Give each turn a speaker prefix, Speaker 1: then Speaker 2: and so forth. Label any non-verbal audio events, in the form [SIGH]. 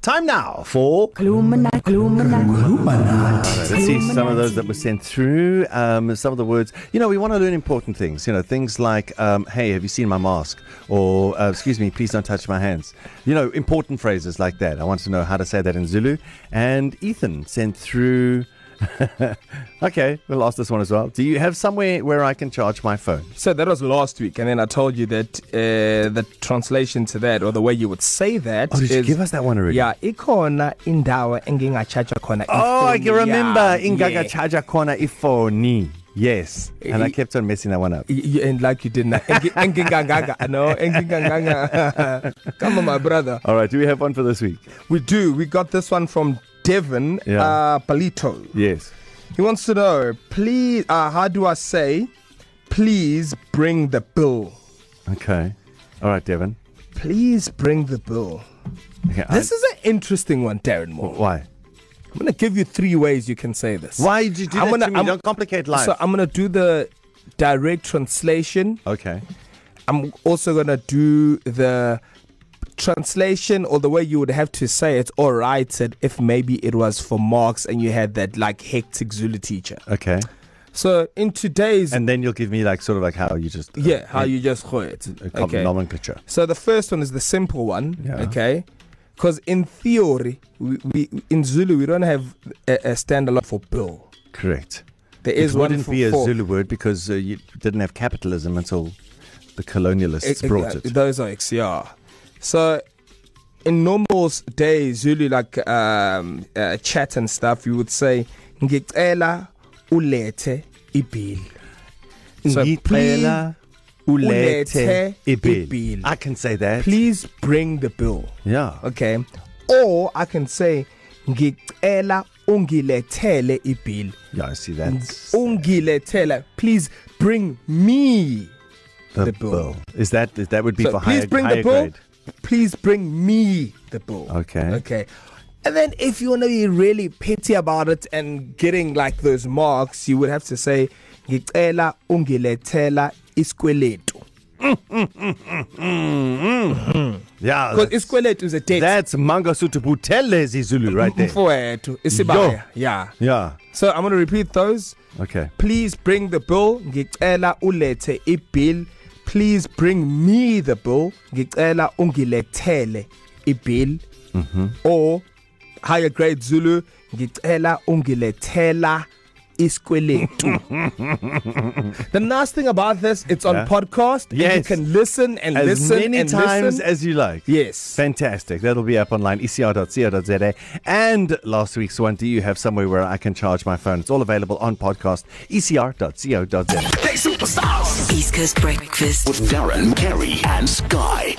Speaker 1: Time now for
Speaker 2: Gloomena, gloomena.
Speaker 1: Let's see some of those that were sent through. Um, some of the words, you know, we want to learn important things. You know, things like, um, "Hey, have you seen my mask?" or uh, "Excuse me, please don't touch my hands." You know, important phrases like that. I want to know how to say that in Zulu. And Ethan sent through. [LAUGHS] okay, we'll ask this one as well. Do you have somewhere where I can charge my phone?
Speaker 3: So that was last week, and then I told you that uh, the translation to that, or the way you would say that,
Speaker 1: Oh, did
Speaker 3: is,
Speaker 1: you give us that one already?
Speaker 3: Yeah, ikona indawo engingachaja khona.
Speaker 1: Oh, I can
Speaker 3: ifoni
Speaker 1: remember.
Speaker 3: yami.
Speaker 1: Ingaga
Speaker 3: Yeah.
Speaker 1: chaja kona ifoni. Yes, and I
Speaker 3: Y-
Speaker 1: kept on messing that one up.
Speaker 3: Y- y- And like you did now, Engi- enginganganga, no,
Speaker 1: [LAUGHS]
Speaker 3: enginganganga. Come on, my brother.
Speaker 1: All right, do we have one for this week?
Speaker 3: We do. We got this one from Devon
Speaker 1: Yeah.
Speaker 3: yeah. uh, Palito.
Speaker 1: Yes.
Speaker 3: He wants to know, please, uh, how do I say, please bring the bill?
Speaker 1: Okay. All right, Devon.
Speaker 3: Please bring the bill.
Speaker 1: Okay,
Speaker 3: This is an interesting one, Darren Moore.
Speaker 1: Why?
Speaker 3: I'm going to give you three ways you can say this.
Speaker 1: Why did you do that
Speaker 3: I'm gonna-
Speaker 1: to me?
Speaker 3: I'm-
Speaker 1: Don't complicate life.
Speaker 3: So I'm going to do the direct translation.
Speaker 1: okay.
Speaker 3: I'm also going to do the translation or the way you would have to say it or write it if maybe it was for marks and you had that like hectic Zulu teacher.
Speaker 1: Okay.
Speaker 3: So in today's and
Speaker 1: And then you'll give me like sort of like how you just uh,
Speaker 3: yeah, how you just go it.
Speaker 1: a com- okay.
Speaker 3: Okay.
Speaker 1: nomenclature.
Speaker 3: So the first one is the simple one,
Speaker 1: Yeah.
Speaker 3: yeah. okay? Because in theory, we, we in Zulu we don't have a, a standalone for bill.
Speaker 1: Correct.
Speaker 3: There is
Speaker 1: it
Speaker 3: one
Speaker 1: wouldn't
Speaker 3: for
Speaker 1: be a
Speaker 3: for,
Speaker 1: Zulu word because uh, you didn't have capitalism until the colonialists
Speaker 3: Ex- ex-
Speaker 1: brought it.
Speaker 3: Those are ex, yeah. So in normal s- days, really like um, uh, chat and stuff, you would say ngicela ulethe ibill. So
Speaker 1: Ngicela ulethe
Speaker 3: ulethe
Speaker 1: ibil.
Speaker 3: ibil.
Speaker 1: I can say that.
Speaker 3: please bring the bill.
Speaker 1: Yeah.
Speaker 3: Okay. Or I can say ngicela ungilethele ibill.
Speaker 1: Yeah, I see that.
Speaker 3: Ungilethele, please bring me the bill.
Speaker 1: Is that is- that would be
Speaker 3: So
Speaker 1: for
Speaker 3: please
Speaker 1: higher,
Speaker 3: bring
Speaker 1: higher
Speaker 3: the bill.
Speaker 1: grade?
Speaker 3: Please bring me the bill.
Speaker 1: Okay.
Speaker 3: Okay. And then if you want to be really petty about it and getting like those marks, you would have to say ngicela ungilethela isikweletu.
Speaker 1: Yeah.
Speaker 3: Because
Speaker 1: That's,
Speaker 3: isikweletu is a debt.
Speaker 1: that's Mangosuthu Buthelezi Zulu right there.
Speaker 3: [LAUGHS] Mfowethu
Speaker 1: Yo.
Speaker 3: isibaya. Yeah.
Speaker 1: Yeah.
Speaker 3: So I'm going to repeat those.
Speaker 1: Okay.
Speaker 3: Please bring the bill. Ngicela ulethe ibill. Please bring me the bill. Ngicela ungilethele ibill.
Speaker 1: Mm-hmm.
Speaker 3: Mhm. Or higher grade Zulu, ngicela ungilethela
Speaker 1: [LAUGHS]
Speaker 3: isikweletu. the nice thing about this, it's on
Speaker 1: Yeah.
Speaker 3: yeah. podcast. and You
Speaker 1: Yes.
Speaker 3: can listen and
Speaker 1: as
Speaker 3: listen
Speaker 1: many
Speaker 3: and
Speaker 1: times
Speaker 3: listen.
Speaker 1: as you like.
Speaker 3: Yes.
Speaker 1: Fantastic. That'll be up online, E ecr.co.za. And last week's one, do you have somewhere where I can charge my phone? It's all available on podcast, E ecr.co.za.
Speaker 4: East Coast Breakfast.
Speaker 5: Darren, Kerry, and Sky.